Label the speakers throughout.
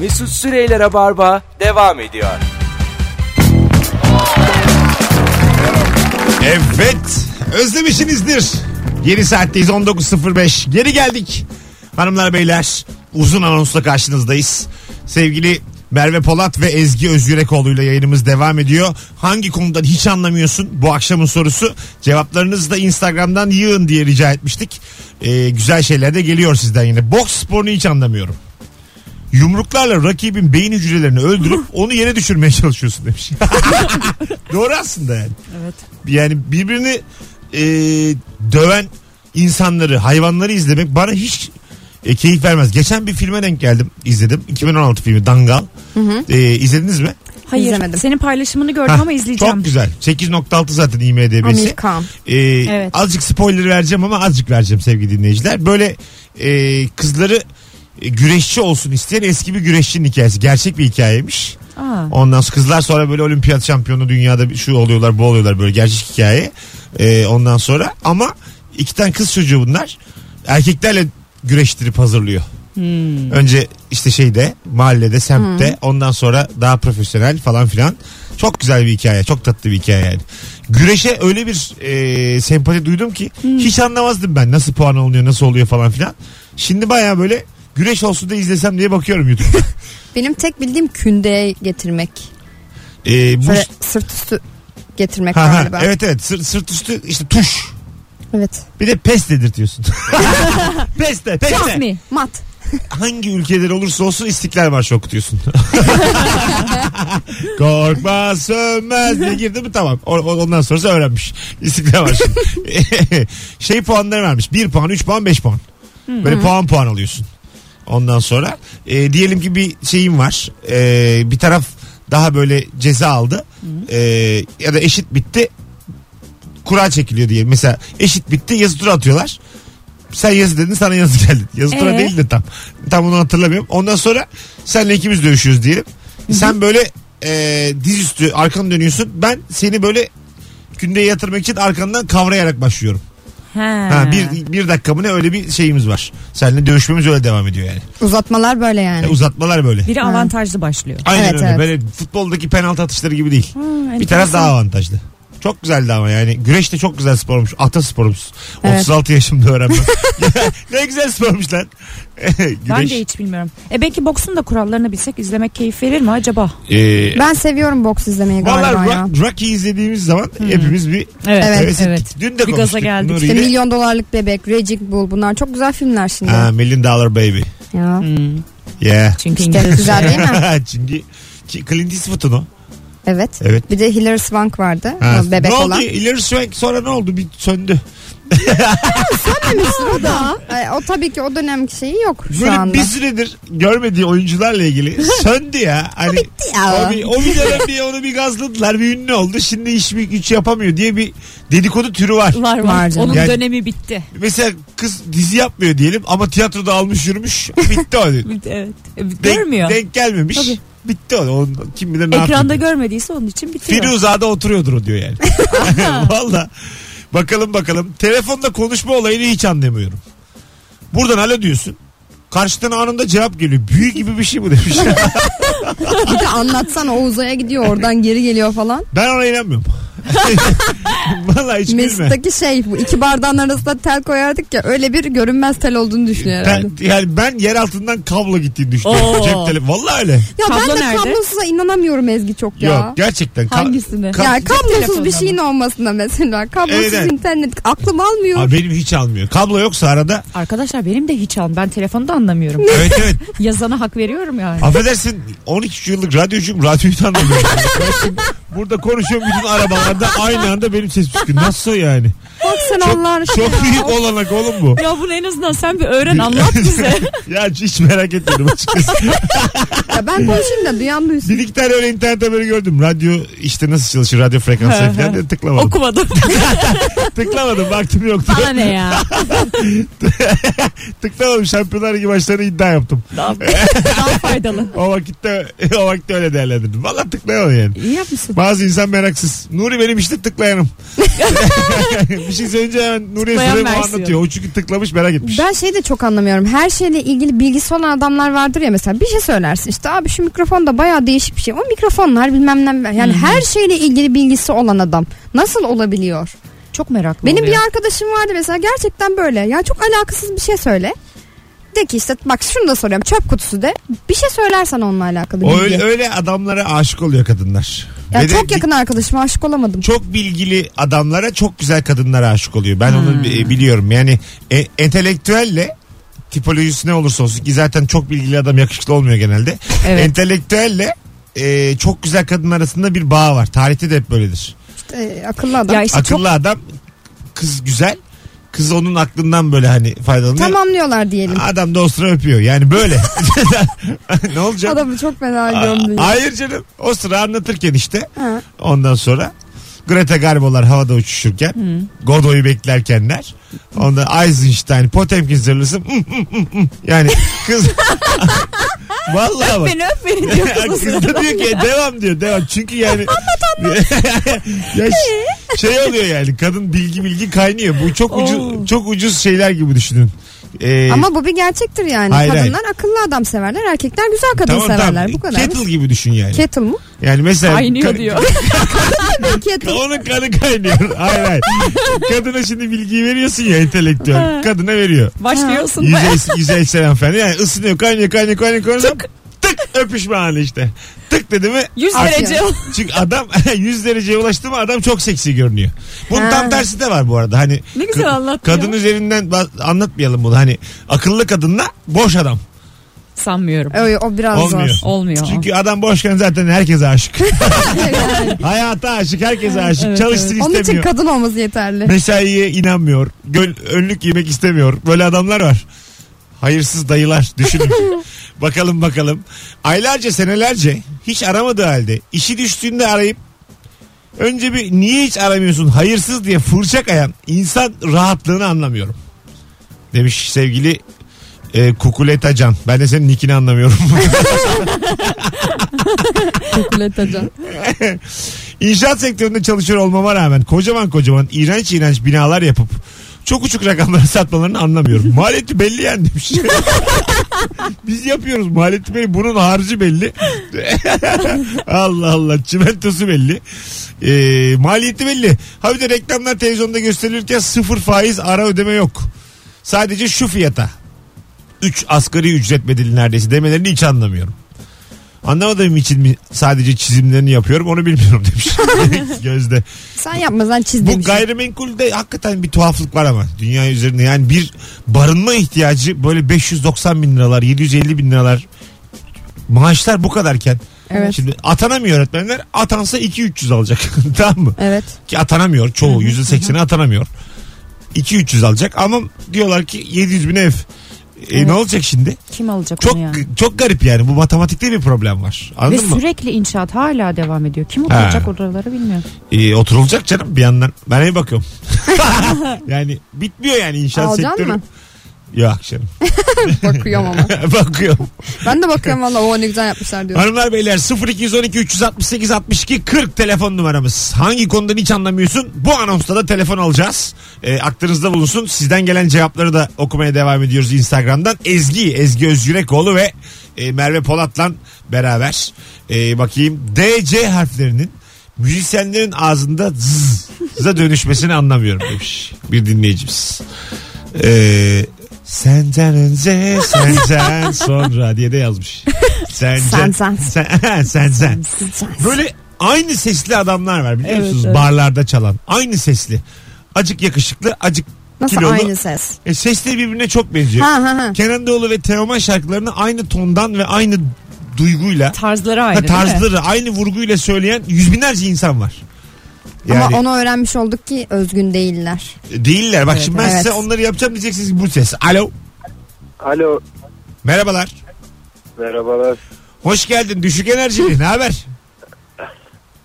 Speaker 1: Mesut Süreyler'e barba devam ediyor.
Speaker 2: Evet. Özlemişsinizdir. Yeni saatteyiz 19.05. Geri geldik. Hanımlar beyler uzun anonsla karşınızdayız. Sevgili Merve Polat ve Ezgi Özgürekoğlu ile yayınımız devam ediyor. Hangi konudan hiç anlamıyorsun bu akşamın sorusu. Cevaplarınızı da Instagram'dan yığın diye rica etmiştik. Ee, güzel şeyler de geliyor sizden yine. Boks sporunu hiç anlamıyorum. Yumruklarla rakibin beyin hücrelerini öldürüp onu yere düşürmeye çalışıyorsun demiş. Doğru aslında yani
Speaker 3: Evet.
Speaker 2: yani birbirini e, döven insanları, hayvanları izlemek bana hiç e, keyif vermez. Geçen bir filme denk geldim, izledim. 2016 filmi Dangal. E, izlediniz mi?
Speaker 3: Hayır.
Speaker 4: İzlemedim.
Speaker 3: Senin paylaşımını gördüm
Speaker 2: Hah,
Speaker 3: ama izleyeceğim.
Speaker 2: Çok güzel. 8.6 zaten IMDB'si.
Speaker 4: Amerikan.
Speaker 2: Ee,
Speaker 3: Evet.
Speaker 2: Azıcık spoiler vereceğim ama azıcık vereceğim sevgili dinleyiciler. Böyle e, kızları e, güreşçi olsun isteyen eski bir güreşçinin hikayesi. Gerçek bir hikayeymiş.
Speaker 3: Aa.
Speaker 2: Ondan sonra kızlar sonra böyle olimpiyat şampiyonu dünyada bir- şu oluyorlar bu oluyorlar böyle gerçek hikaye. Ee, ondan sonra ama iki tane kız çocuğu bunlar erkeklerle güreştirip hazırlıyor. Önce işte şeyde mahallede semtte ondan sonra daha profesyonel falan filan. Çok güzel bir hikaye çok tatlı bir hikaye yani. Güreşe öyle bir e, sempati duydum ki hiç anlamazdım ben nasıl puan alınıyor nasıl oluyor falan filan. Şimdi baya böyle güreş olsun da izlesem diye bakıyorum YouTube'da.
Speaker 4: Benim tek bildiğim kündeye getirmek.
Speaker 2: Ee, bu
Speaker 4: Böyle sırt üstü getirmek
Speaker 2: Ha, ha,
Speaker 4: galiba. Evet.
Speaker 2: evet evet sırt, sırt üstü işte tuş.
Speaker 4: evet.
Speaker 2: Bir de pes dedirtiyorsun. pes de pes
Speaker 3: Çok
Speaker 2: de.
Speaker 3: mi?
Speaker 4: Mat.
Speaker 2: Hangi ülkeler olursa olsun İstiklal Marşı okutuyorsun. Korkma sönmez diye girdi mi tamam. O- o- ondan sonrası öğrenmiş. İstiklal Marşı. şey puanları vermiş. 1 puan, 3 puan, 5 puan. Böyle puan puan alıyorsun. Ondan sonra e, diyelim ki bir şeyim var. E, bir taraf daha böyle ceza aldı. E, ya da eşit bitti. Kura çekiliyor diye. Mesela eşit bitti yazı tura atıyorlar. Sen yazı dedin sana yazı geldi. Yazı tura
Speaker 3: Ee?
Speaker 2: değil de tam. Tam onu hatırlamıyorum. Ondan sonra senle ikimiz dövüşüyoruz diyelim. Sen böyle e, dizüstü arkanı dönüyorsun. Ben seni böyle kündeye yatırmak için arkandan kavrayarak başlıyorum.
Speaker 3: He.
Speaker 2: Ha, bir, bir dakika mı ne öyle bir şeyimiz var. Seninle dövüşmemiz öyle devam ediyor yani.
Speaker 4: Uzatmalar böyle yani.
Speaker 2: E, uzatmalar böyle.
Speaker 3: Biri avantajlı başlıyor.
Speaker 2: Aynen
Speaker 4: Evet,
Speaker 2: öyle.
Speaker 4: evet. Hmm,
Speaker 2: Böyle futboldaki penaltı atışları gibi değil. bir taraf
Speaker 3: enteresan.
Speaker 2: daha avantajlı. Çok güzeldi ama yani. Güreş de çok güzel spormuş. Ata sporumuz.
Speaker 4: Evet.
Speaker 2: 36 yaşımda öğrenmem. ne güzel spormuş lan. Güreş.
Speaker 3: Ben de hiç bilmiyorum. E belki boksun da kurallarını bilsek izlemek keyif verir mi acaba?
Speaker 2: Ee,
Speaker 4: Ben seviyorum boks izlemeyi
Speaker 2: Valla
Speaker 4: galiba ya. Hmm.
Speaker 2: Rock- Rocky izlediğimiz zaman hepimiz bir
Speaker 4: Evet,
Speaker 2: heves ettik. Dün de
Speaker 3: Bir gaza
Speaker 2: konuştuk.
Speaker 3: geldik.
Speaker 2: Nuri
Speaker 4: İşte
Speaker 2: ile.
Speaker 4: milyon dolarlık bebek, Raging Bull bunlar çok güzel filmler şimdi.
Speaker 2: Ha, Million Dollar Baby.
Speaker 4: Ya.
Speaker 3: Hmm.
Speaker 2: Yeah.
Speaker 3: Çünkü
Speaker 4: İşte
Speaker 3: İngilizce.
Speaker 4: güzel değil mi?
Speaker 2: Çünkü ki- Clint Eastwood'un o.
Speaker 4: Evet.
Speaker 2: Evet.
Speaker 4: Bir de Hilary Swank vardı.
Speaker 2: Ha,
Speaker 4: o Bebek
Speaker 2: ne oldu?
Speaker 4: olan.
Speaker 2: İleri Swank sonra ne oldu? Bir söndü.
Speaker 4: o da. Ay, o tabii ki o dönem şeyi yok şu
Speaker 2: Böyle
Speaker 4: anda.
Speaker 2: bir süredir görmediği oyuncularla ilgili söndü ya. Hani
Speaker 4: ya.
Speaker 2: O bir, o bir dönem bir onu bir gazladılar bir ünlü oldu. Şimdi iş bir güç yapamıyor diye bir dedikodu türü var.
Speaker 3: Var
Speaker 4: Var
Speaker 3: var.
Speaker 4: canım.
Speaker 3: Onun
Speaker 2: Yani-
Speaker 3: dönemi bitti.
Speaker 2: Mesela kız dizi yapmıyor diyelim ama tiyatroda almış yürümüş. Bitti o. Denk-
Speaker 3: Bitti, Evet. E, Görmüyor.
Speaker 2: Denk gelmemiş.
Speaker 3: Tabii.
Speaker 2: Bitti o. Onun- kim bilir ne
Speaker 3: Ekranda
Speaker 2: yapıyor.
Speaker 3: görmediyse onun için bitiyor.
Speaker 2: Firuza'da oturuyordur o diyor yani. Valla. Bakalım bakalım. Telefonda konuşma olayını hiç anlamıyorum. Buradan alo diyorsun. Karşıdan anında cevap geliyor. Büyü gibi bir şey bu demiş.
Speaker 4: Bir de anlatsana o uzaya gidiyor oradan geri geliyor falan.
Speaker 2: ben ona inanmıyorum. Valla hiç gülme.
Speaker 4: Mesut'taki şey bu iki bardağın arasında tel koyardık ya öyle bir görünmez tel olduğunu düşünüyor herhalde.
Speaker 2: Ben, yani ben yer altından kablo gittiğini düşünüyorum.
Speaker 3: Oo.
Speaker 2: Cep telefonu. Valla öyle.
Speaker 4: ya
Speaker 3: Kablo
Speaker 4: ben de
Speaker 3: nerede?
Speaker 4: kablosuza inanamıyorum Ezgi çok ya.
Speaker 2: Yok gerçekten. Ka-
Speaker 3: Hangisini?
Speaker 2: ka-
Speaker 4: ya kablosuz
Speaker 3: telefonu
Speaker 4: bir
Speaker 3: mu?
Speaker 4: şeyin olmasında mesela. Kablosuz
Speaker 2: Evet, evet.
Speaker 4: internet aklım almıyor.
Speaker 2: Aa, benim hiç almıyor. Kablo yoksa arada.
Speaker 3: Arkadaşlar benim de hiç an. Ben telefonu da anlamıyorum.
Speaker 2: evet evet.
Speaker 3: Yazana hak veriyorum yani.
Speaker 2: Affedersin 12 yıllık radyocuyum. Radyoyu da anlamıyorum. Ben şimdi burada konuşuyorum bütün arabalarda aynı anda benim ses çıkıyor. Nasıl yani?
Speaker 4: Bak sen
Speaker 2: Çok,
Speaker 4: Allah aşkına.
Speaker 2: çok büyük olanak oğlum bu.
Speaker 3: Ya bunu en azından sen bir öğren anlat bize.
Speaker 2: ya hiç merak etmedim açıkçası.
Speaker 4: Ya ben konuşayım da duyan duysun.
Speaker 2: Bir iki tane öyle internette böyle gördüm. Radyo işte nasıl çalışır radyo frekansları falan diye tıklamadım.
Speaker 3: Okumadım.
Speaker 2: tıklamadım vaktim yoktu.
Speaker 3: Bana ne ya?
Speaker 2: tıklamadım şampiyonlar gibi maçlarına iddia yaptım.
Speaker 3: Daha faydalı.
Speaker 2: O vakitte o vakitte öyle değerlendirdim. Valla tıklayamadım yani.
Speaker 3: İyi yapmışsın.
Speaker 2: Bazı insan meraksız. Nuri benim işte tıklayanım. bir şey söyleyince hemen Nuri'ye
Speaker 5: Tıklayan
Speaker 2: soruyor bu
Speaker 5: versiyon.
Speaker 2: anlatıyor. O çünkü tıklamış merak etmiş.
Speaker 4: Ben şeyi de çok anlamıyorum. Her şeyle ilgili bilgisi olan adamlar vardır ya mesela. Bir şey söylersin işte abi şu mikrofon da bayağı değişik bir şey. O mikrofonlar bilmem ne. Yani
Speaker 2: Hmm.
Speaker 4: her şeyle ilgili bilgisi olan adam. Nasıl olabiliyor?
Speaker 3: Çok meraklı
Speaker 4: Benim
Speaker 3: oluyor.
Speaker 4: bir arkadaşım vardı mesela gerçekten böyle. Ya çok alakasız bir şey söyle. De ki işte bak şunu da soruyorum. Çöp kutusu de. Bir şey söylersen onunla alakalı.
Speaker 2: O
Speaker 4: bilgi.
Speaker 2: öyle, öyle adamlara aşık oluyor kadınlar.
Speaker 4: Ya
Speaker 2: Ve de
Speaker 4: çok yakın arkadaşıma aşık olamadım.
Speaker 2: çok bilgili adamlara çok güzel kadınlara aşık oluyor. Ben onu bi-
Speaker 4: Hmm.
Speaker 2: biliyorum. Yani e, entelektüelle tipolojisi ne olursa olsun ki zaten çok bilgili adam yakışıklı olmuyor genelde.
Speaker 5: Evet.
Speaker 2: Entelektüelle e, çok güzel kadın arasında bir bağ var. Tarihte de hep böyledir.
Speaker 4: Ee, akıllı adam.
Speaker 3: Ya işte
Speaker 2: Akıllı adam kız güzel. Kız onun aklından böyle hani faydalanıyor.
Speaker 4: Tamamlıyorlar diyelim.
Speaker 2: Adam da o sıra öpüyor. Yani böyle. ne olacak?
Speaker 4: Adamı çok fena
Speaker 2: Aa,
Speaker 4: gömdü. ya.
Speaker 2: Hayır canım. O sıra anlatırken işte.
Speaker 4: Ha.
Speaker 2: Ondan sonra Greta Garbo'lar havada uçuşurken, Godoy'u beklerkenler, onda Eisenstein, Potemkin zırhlısı, hmm, hmm, hmm, hmm. yani kız Vallahi bak.
Speaker 5: Beni öp beni diyor kız o
Speaker 2: Kız da
Speaker 5: sırada.
Speaker 2: diyor ki "E, devam diyor devam çünkü yani ya
Speaker 4: Ee?
Speaker 2: ş- şey oluyor yani kadın bilgi bilgi kaynıyor bu çok ucuz
Speaker 5: Oo.
Speaker 2: çok ucuz şeyler gibi düşünün Ee,
Speaker 4: Ama bu bir gerçektir yani.
Speaker 2: Hayır, hayır.
Speaker 4: Kadınlar akıllı adam severler. Erkekler güzel kadın severler. Bu kadar.
Speaker 2: kettle gibi düşün yani
Speaker 4: Kettle mu?
Speaker 2: yani mesela
Speaker 5: Kaynıyor
Speaker 2: ka-
Speaker 5: diyor.
Speaker 4: Kettle.
Speaker 2: Onun kanı kaynıyor. Hayır hayır. Kadına şimdi bilgiyi veriyorsun ya entelektüel. Kadına veriyor.
Speaker 5: Başlıyorsun.
Speaker 2: Yüzey, yüzeysel hanımefendi. Yani ısınıyor kaynıyor kaynıyor kaynıyor kaynıyor. Tık.
Speaker 5: Tık.
Speaker 2: öpüşme anı işte. Tık dedi mi?
Speaker 5: 100
Speaker 2: Artık-
Speaker 5: derece.
Speaker 2: Çünkü adam 100 dereceye ulaştı mı adam çok seksi görünüyor. Bunun
Speaker 4: Ha.
Speaker 2: tam tersi de var bu arada. Hani
Speaker 5: Ne güzel anlattı
Speaker 2: Kadın
Speaker 5: ya.
Speaker 2: üzerinden ba- anlatmayalım bunu. Hani akıllı kadınla boş adam.
Speaker 5: Sanmıyorum.
Speaker 4: O, o biraz
Speaker 2: Olmuyor.
Speaker 4: zor.
Speaker 5: Olmuyor.
Speaker 2: Çünkü adam boşken zaten herkese aşık. Hayata aşık, herkese aşık.
Speaker 5: evet,
Speaker 2: Çalışsın
Speaker 4: Onun
Speaker 2: istemiyor.
Speaker 4: için kadın olması yeterli.
Speaker 2: Mesaiye inanmıyor. Göl, önlük giymek istemiyor. Böyle adamlar var. Hayırsız dayılar düşünün. bakalım bakalım. Aylarca senelerce hiç aramadığı halde işi düştüğünde arayıp önce bir niye hiç aramıyorsun hayırsız diye fırça kayan insan rahatlığını anlamıyorum. Demiş sevgili e, Kukuleta Can. Ben de senin nickini anlamıyorum.
Speaker 4: Kukuletacan.
Speaker 2: İnşaat sektöründe çalışıyor olmama rağmen kocaman kocaman iğrenç iğrenç binalar yapıp çok uçuk rakamlara satmalarını anlamıyorum. Maliyeti belli yani demiş. Biz yapıyoruz maliyeti belli. Bunun harcı belli. Allah Allah çimentosu belli. Ee, maliyeti belli. Ha bir de reklamlar televizyonda gösterilirken sıfır faiz ara ödeme yok. Sadece şu fiyata. 3 asgari ücret bedeli neredeyse demelerini hiç anlamıyorum. Anlamadığım için mi sadece çizimlerini yapıyorum onu bilmiyorum demiş. Gözde.
Speaker 4: Sen yapmasan çizdiğim
Speaker 2: Bu
Speaker 4: bir şey.
Speaker 2: gayrimenkulde hakikaten bir tuhaflık var ama dünya üzerinde yani bir barınma ihtiyacı böyle 590 bin liralar 750 bin liralar maaşlar bu kadarken
Speaker 4: Evet.
Speaker 2: şimdi atanamıyor öğretmenler atansa 2-300 alacak tamam mı?
Speaker 4: Evet.
Speaker 2: Ki atanamıyor çoğu %80'i atanamıyor. 2-300 alacak ama diyorlar ki 700 bin ev. E, Ne olacak şimdi?
Speaker 3: Kim alacak
Speaker 2: Çok
Speaker 3: onu yani?
Speaker 2: çok garip yani bu matematikte bir problem var.
Speaker 3: Ve
Speaker 2: Anladın mı?
Speaker 3: sürekli inşaat hala devam ediyor. Kim oturacak oraları bilmiyorum.
Speaker 2: Ee, oturulacak canım bir yandan. Ben iyi bakıyorum. yani bitmiyor yani inşaat
Speaker 4: Alacaksın
Speaker 2: sektörü.
Speaker 4: mı?
Speaker 2: Yok canım.
Speaker 4: Bakıyorum ama.
Speaker 2: bakıyorum.
Speaker 4: Ben de bakıyorum valla o ne güzel yapmışlar diyorum.
Speaker 2: Hanımlar beyler 0212 368 62 40 telefon numaramız. Hangi konudan hiç anlamıyorsun? Bu anonsta da telefon alacağız. Ee, aklınızda bulunsun. Sizden gelen cevapları da okumaya devam ediyoruz Instagram'dan. Ezgi, Ezgi Özgürekoğlu ve e, Merve Polat'la beraber. Ee, bakayım DC harflerinin müzisyenlerin ağzında zza dönüşmesini anlamıyorum demiş bir dinleyicimiz. Ee, senden önce senden sonra diye de yazmış. Sence,
Speaker 4: Sen, sen.
Speaker 2: sen, sen, sen. Böyle aynı sesli adamlar var biliyor
Speaker 5: Evet,
Speaker 2: musunuz?
Speaker 5: evet.
Speaker 2: Barlarda çalan. Aynı sesli. Acık yakışıklı, acık
Speaker 4: Nasıl
Speaker 2: kilolu.
Speaker 4: aynı ses?
Speaker 2: E, sesleri birbirine çok benziyor.
Speaker 4: Ha ha ha.
Speaker 2: Kenan Doğulu ve Teoman şarkılarını aynı tondan ve aynı duyguyla,
Speaker 5: Tarzları
Speaker 2: ha,
Speaker 5: aynı değil mi?
Speaker 2: tarzları, aynı vurguyla söyleyen yüz binlerce insan var. Yani
Speaker 4: Ama onu öğrenmiş olduk ki özgün değiller.
Speaker 2: değiller. Bak
Speaker 5: Evet,
Speaker 2: şimdi ben
Speaker 4: evet.
Speaker 2: size onları yapacağım diyeceksiniz ki bu ses. Alo.
Speaker 6: Alo.
Speaker 2: Merhabalar.
Speaker 6: Merhabalar.
Speaker 2: Hoş geldin. Düşük enerjili. ne haber?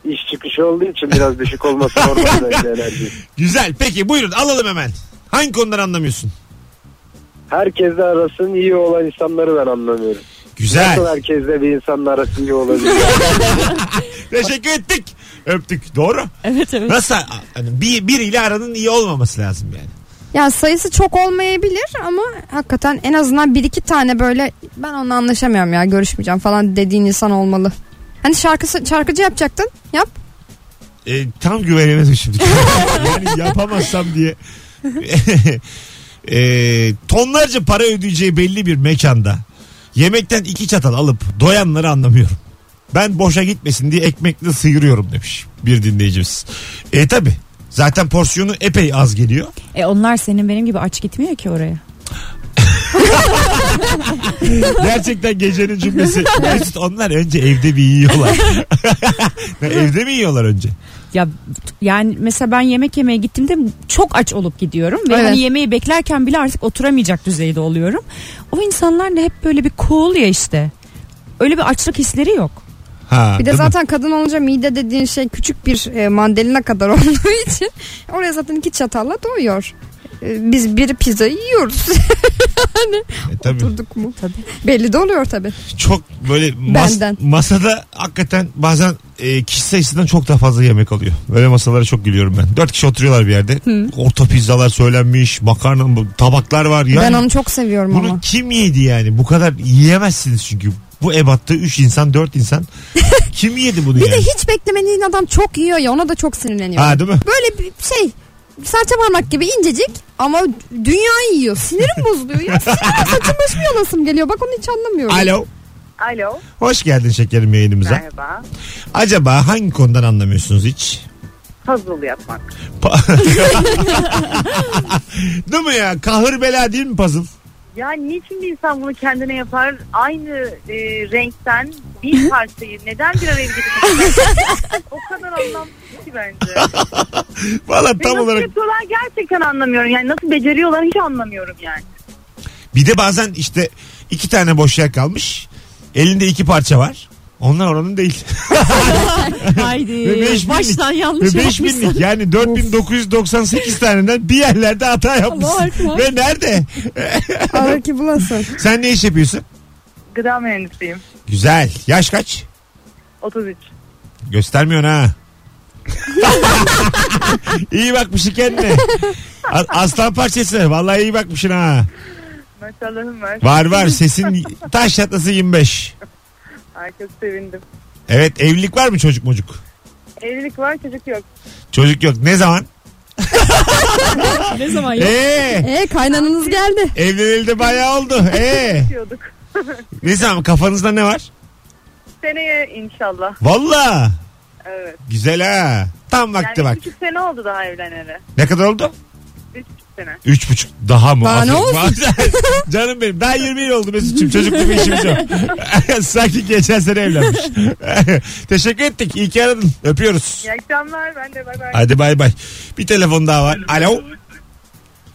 Speaker 6: İş çıkışı olduğu için biraz düşük olması normal bence enerji.
Speaker 2: Güzel. Peki buyurun alalım hemen. Hangi konuları anlamıyorsun?
Speaker 6: Herkesle arasının iyi olan insanları ben anlamıyorum.
Speaker 2: Güzel.
Speaker 6: Nasıl herkesle bir insanla arasın iyi olabilir?
Speaker 2: Teşekkür ettik. Öptük. Doğru.
Speaker 5: Evet evet.
Speaker 2: Nasıl? Hani bir, biriyle aranın iyi olmaması lazım yani.
Speaker 4: Ya sayısı çok olmayabilir ama hakikaten en azından bir iki tane böyle ben onunla anlaşamıyorum ya görüşmeyeceğim falan dediğin insan olmalı. Hani şarkısı, şarkıcı yapacaktın yap.
Speaker 2: E, tam güvenemedim şimdi. yani yapamazsam diye. E, tonlarca para ödeyeceği belli bir mekanda yemekten iki çatal alıp doyanları anlamıyorum. Ben boşa gitmesin diye ekmekle sıyırıyorum demiş bir dinleyicimiz. E tabi zaten porsiyonu epey az geliyor.
Speaker 5: E onlar senin benim gibi aç gitmiyor ki oraya.
Speaker 2: Gerçekten gecenin cümlesi. Mesut onlar önce evde bir yiyorlar. evde mi yiyorlar önce?
Speaker 5: Ya yani mesela ben yemek yemeye gittiğimde çok aç olup gidiyorum ve
Speaker 4: Evet.
Speaker 5: hani yemeği beklerken bile artık oturamayacak düzeyde oluyorum. O insanlar da hep böyle bir cool ya işte. Öyle bir açlık hisleri yok.
Speaker 2: Ha,
Speaker 4: Bir de
Speaker 2: değil mi?
Speaker 4: zaten kadın olunca mide dediğin şey küçük bir e, mandalina kadar olduğu için oraya zaten iki çatalla doyuyor. E, Biz bir pizza yiyoruz.
Speaker 2: E, tabii.
Speaker 4: Durduk mu? Tabii. Belli de oluyor tabii.
Speaker 2: çok böyle mas-
Speaker 4: Benden.
Speaker 2: masada hakikaten bazen e, kişi sayısından çok daha fazla yemek alıyor. Böyle masalara çok gülüyorum ben. Dört kişi oturuyorlar bir yerde. Orta pizzalar söylenmiş, makarna, bu- tabaklar var. Yani
Speaker 4: ben onu çok seviyorum
Speaker 2: bunu
Speaker 4: ama.
Speaker 2: kim yedi yani? Bu kadar yiyemezsiniz çünkü. Bu ebatta 3 insan 4 insan. kim yedi bunu
Speaker 4: Bir de
Speaker 2: yani?
Speaker 4: hiç beklemediğin adam çok yiyor ya ona da çok sinirleniyorum.
Speaker 2: Ha değil mi?
Speaker 4: Böyle bir şey serçe parmak gibi incecik ama dünyayı yiyor. Sinirim bozuluyor ya. Sinirim saçım başım yolasım geliyor. Bak onu hiç anlamıyorum.
Speaker 2: Alo.
Speaker 7: Alo.
Speaker 2: Hoş geldin şekerim yayınımıza.
Speaker 7: Merhaba.
Speaker 2: Acaba hangi konudan anlamıyorsunuz hiç?
Speaker 7: Puzzle yapmak.
Speaker 2: Pa- değil mi ya? Kahır bela değil mi puzzle?
Speaker 7: Ya niçin bir insan bunu kendine yapar? Aynı e, renkten bir parçayı neden bir araya getirmek? o kadar anlamsız ki bence.
Speaker 2: Valla
Speaker 7: Ve
Speaker 2: tam
Speaker 7: nasıl
Speaker 2: olarak
Speaker 7: yapıyorlar gerçekten anlamıyorum. Yani nasıl beceriyorlar hiç anlamıyorum yani.
Speaker 2: Bir de bazen işte iki tane boş yer kalmış. Elinde iki parça var. Onlar oranın değil. Ve
Speaker 5: Haydi.
Speaker 2: beş binlik.
Speaker 5: Ee, Baştan yanlış
Speaker 2: Ve 5
Speaker 5: yapmışsın.
Speaker 2: binlik yani 4998 taneden bir yerlerde hata
Speaker 5: Allah
Speaker 2: yapmışsın.
Speaker 5: Allah.
Speaker 2: Ve nerede?
Speaker 4: Ara ki bulasın.
Speaker 2: Sen ne iş yapıyorsun?
Speaker 7: Gıda mühendisiyim.
Speaker 2: Güzel. Yaş kaç?
Speaker 7: 33.
Speaker 2: Göstermiyorsun ha. iyi bakmışsın kendine. A- Aslan parçası. Vallahi iyi bakmışsın ha.
Speaker 7: Maşallahım var.
Speaker 2: Var var sesin taş çatlası 25.
Speaker 7: Herkes sevindim.
Speaker 2: Evet evlilik var mı çocuk mucuk?
Speaker 7: Evlilik var çocuk yok.
Speaker 2: Çocuk yok. Ne zaman? Ee,
Speaker 5: Ne zaman ya?
Speaker 2: Eee.
Speaker 4: E kaynananız geldi.
Speaker 2: Evlenildi bayağı oldu. Ee,
Speaker 7: Diyorduk.
Speaker 2: ne zaman kafanızda ne var?
Speaker 7: Seneye inşallah.
Speaker 2: Valla
Speaker 7: Evet.
Speaker 2: güzel ha. Tam vakti
Speaker 7: yani
Speaker 2: bak.
Speaker 7: 3,5 sene oldu daha evleneli.
Speaker 2: Ne kadar oldu?
Speaker 7: 3,5 sene.
Speaker 2: Üç buçuk daha mı?
Speaker 4: Daha ne
Speaker 2: Aferin. Canım benim daha 20 yıl oldu Mesut'cum çocuklu bir işimiz yok. Sanki geçen sene evlenmiş. Teşekkür ettik. İyi ki aradın. Öpüyoruz.
Speaker 7: İyi akşamlar. Ben de bay bay.
Speaker 2: Hadi bay bay. Bir telefon daha var. Alo.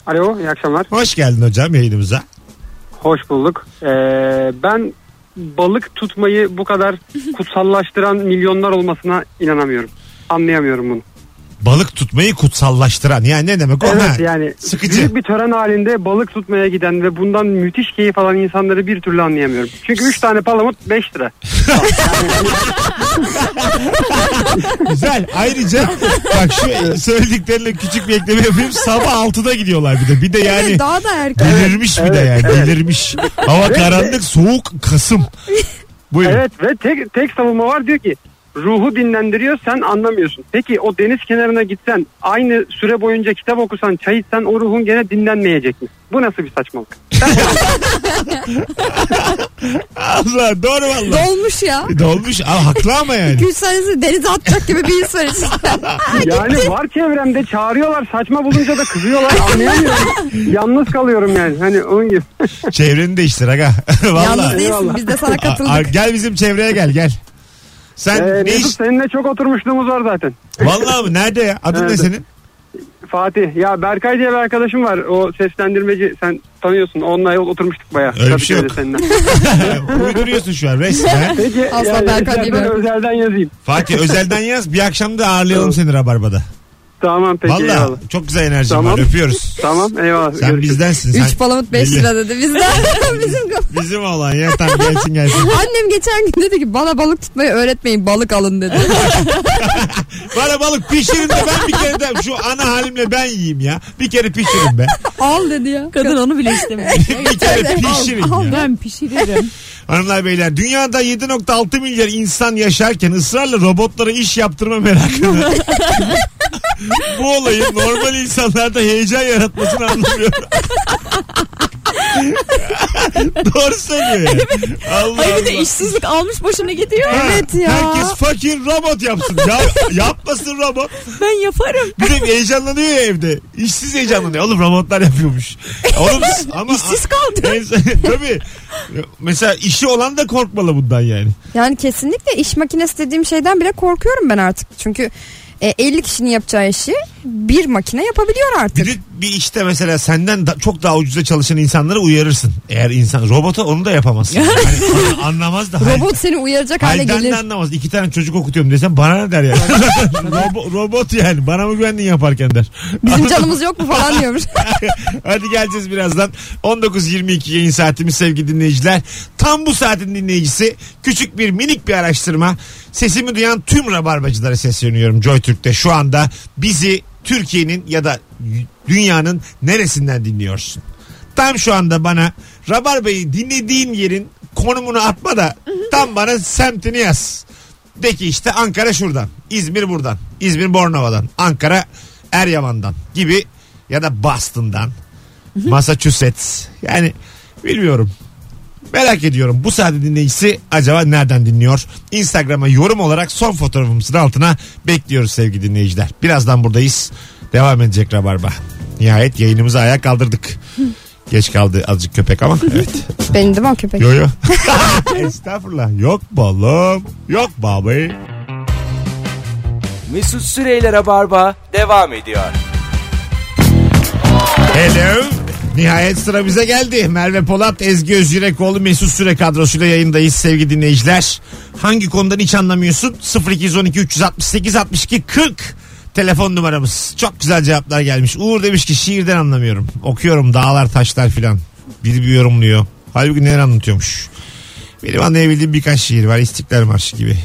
Speaker 8: Alo iyi akşamlar.
Speaker 2: Hoş geldin hocam yayınımıza.
Speaker 8: Hoş bulduk. Ee, ben balık tutmayı bu kadar kutsallaştıran milyonlar olmasına inanamıyorum. Anlayamıyorum bunu.
Speaker 2: Balık tutmayı kutsallaştıran. Yani ne demek o? Ha,
Speaker 8: Evet yani
Speaker 2: Sıkıcı.
Speaker 8: büyük bir tören halinde balık tutmaya giden ve bundan müthiş keyif alan insanları bir türlü anlayamıyorum. Çünkü 3 tane palamut 5 lira.
Speaker 2: Güzel. Ayrıca bak şu söylediklerine küçük bir ekleme yapayım. Sabah 6'da gidiyorlar bir de. Bir de yani
Speaker 4: Daha da erken.
Speaker 2: delirmiş bir de yani. Delirmiş. Hava karanlık, soğuk, Kasım. Buyurun.
Speaker 8: Evet ve tek, tek savunma var diyor ki ruhu dinlendiriyor sen anlamıyorsun. Peki o deniz kenarına gitsen aynı süre boyunca kitap okusan çay içsen o ruhun gene dinlenmeyecek mi? Bu nasıl bir saçmalık?
Speaker 2: Allah doğru valla.
Speaker 4: Dolmuş ya.
Speaker 2: Dolmuş. Aa, haklı ama yani.
Speaker 4: Güç sayesinde denize atacak gibi bir insan için.
Speaker 8: Yani var çevremde çağırıyorlar saçma bulunca da kızıyorlar anlayamıyorum. Yalnız kalıyorum yani hani onun gibi.
Speaker 2: Çevreni değiştir aga.
Speaker 4: Yalnız
Speaker 2: valla.
Speaker 4: değilsin biz de sana
Speaker 2: A- a-
Speaker 4: katıldık.
Speaker 2: gel bizim çevreye gel gel. Sen
Speaker 8: Ee,
Speaker 2: ne
Speaker 8: Mesut
Speaker 2: iş?
Speaker 8: seninle çok oturmuşluğumuz var zaten.
Speaker 2: Valla mı? Nerede ya? Adın ne
Speaker 8: Evet.
Speaker 2: senin?
Speaker 8: Fatih ya Berkay diye bir arkadaşım var o seslendirmeci sen tanıyorsun onunla oturmuştuk bayağı.
Speaker 2: Öyle bir şey
Speaker 8: Kadıköy'de
Speaker 2: yok.
Speaker 8: seninle.
Speaker 2: Uyduruyorsun şu an resmen.
Speaker 8: Peki
Speaker 4: Asla
Speaker 8: yani
Speaker 4: Berkay diye bir
Speaker 8: istersen özelden yazayım.
Speaker 2: Fatih özelden yaz. Bir akşam da ağırlayalım seni Rabarba'da.
Speaker 8: Tamam peki eyvallah.
Speaker 2: Valla çok güzel enerjim
Speaker 8: Tamam.
Speaker 2: var öpüyoruz.
Speaker 8: Tamam eyvallah.
Speaker 2: Sen
Speaker 8: Görüşürüz.
Speaker 2: bizdensin. Sen
Speaker 4: 3 palamut 5
Speaker 2: Belli.
Speaker 4: lira dedi bizden. Bizim kafa-
Speaker 2: Bizim olan ya tamam gelsin gelsin.
Speaker 4: Annem geçen gün dedi ki bana balık tutmayı öğretmeyin balık alın dedi.
Speaker 2: Bana balık pişirin de ben bir kere de şu ana halimle ben yiyeyim ya. Bir kere pişirin be.
Speaker 4: Al dedi ya.
Speaker 5: Kadın onu bile istemiyor.
Speaker 2: bir kere pişirin
Speaker 5: Al, al
Speaker 2: ya.
Speaker 5: ben pişiririm.
Speaker 2: Hanımlar beyler dünyada 7.6 milyar insan yaşarken ısrarla robotlara iş yaptırma merakını bu olayın normal insanlarda heyecan yaratmasını anlamıyorum. Doğru söylüyor ya. Allah
Speaker 5: Ay bir de
Speaker 2: Allah.
Speaker 5: işsizlik almış başına gidiyor.
Speaker 2: Ha,
Speaker 4: Evet ya.
Speaker 2: Herkes fakir robot yapsın. Ya, yapmasın robot.
Speaker 5: Ben yaparım.
Speaker 2: Bir de heyecanlanıyor ya evde. İşsiz heyecanlanıyor. Oğlum robotlar yapıyormuş. Oğlum ama
Speaker 5: İşsiz kaldı.
Speaker 2: En- Tabii. Mesela işi olan da korkmalı bundan yani.
Speaker 4: Yani kesinlikle iş makinesi dediğim şeyden bile korkuyorum ben artık. Çünkü e, 50 kişinin yapacağı işi bir makine yapabiliyor
Speaker 2: Bir
Speaker 4: artık.
Speaker 2: de bir işte mesela senden da- çok daha ucuza çalışan insanları uyarırsın. Eğer insan robota onu da yapamazsın. Hani anlamaz da.
Speaker 4: Robot seni uyaracak hale
Speaker 2: Halden
Speaker 4: gelir.
Speaker 2: de anlamaz. İki tane çocuk okutuyorum desem bana ne der yani. Robo- robot yani. Bana mı güvendin yaparken der.
Speaker 4: Bizim canımız yok mu falan diyormuş.
Speaker 2: Hadi geleceğiz birazdan. 19.22 yayın saatimiz sevgili dinleyiciler. Tam bu saatin dinleyicisi küçük bir minik bir araştırma. Sesimi duyan tüm rabarbacılara sesleniyorum JoyTürk'te. Şu anda bizi Türkiye'nin ya da dünyanın neresinden dinliyorsun? Tam şu anda bana Rabarba'yı dinlediğin yerin konumunu atma da tam bana semtini yaz. De ki işte Ankara şuradan, İzmir buradan, İzmir Bornova'dan, Ankara Eryaman'dan gibi ya da Boston'dan, Massachusetts. Yani bilmiyorum. Merak ediyorum bu saat dinleyicisi acaba nereden dinliyor? Instagram'a yorum olarak son fotoğrafımızın altına bekliyoruz sevgili dinleyiciler. Birazdan buradayız. Devam edecek Rabarba. Nihayet yayınımızı ayağa kaldırdık. Geç kaldı azıcık köpek ama evet.
Speaker 4: Benim değil mi o köpek?
Speaker 2: Yo yo. Estağfurullah. Yok balım. Yok babayı.
Speaker 1: Mesut Süreyler'e barba devam ediyor.
Speaker 2: Hello. Nihayet sıra bize geldi. Merve Polat, Ezgi Özyürekoğlu, Mesut Süre kadrosuyla yayındayız sevgili dinleyiciler. Hangi konudan hiç anlamıyorsun? 0212 368 62 40 telefon numaramız. Çok güzel cevaplar gelmiş. Uğur demiş ki şiirden anlamıyorum. Okuyorum dağlar taşlar filan. Biri bir yorumluyor. Halbuki neler anlatıyormuş. Benim anlayabildiğim birkaç şiir var. İstiklal Marşı gibi.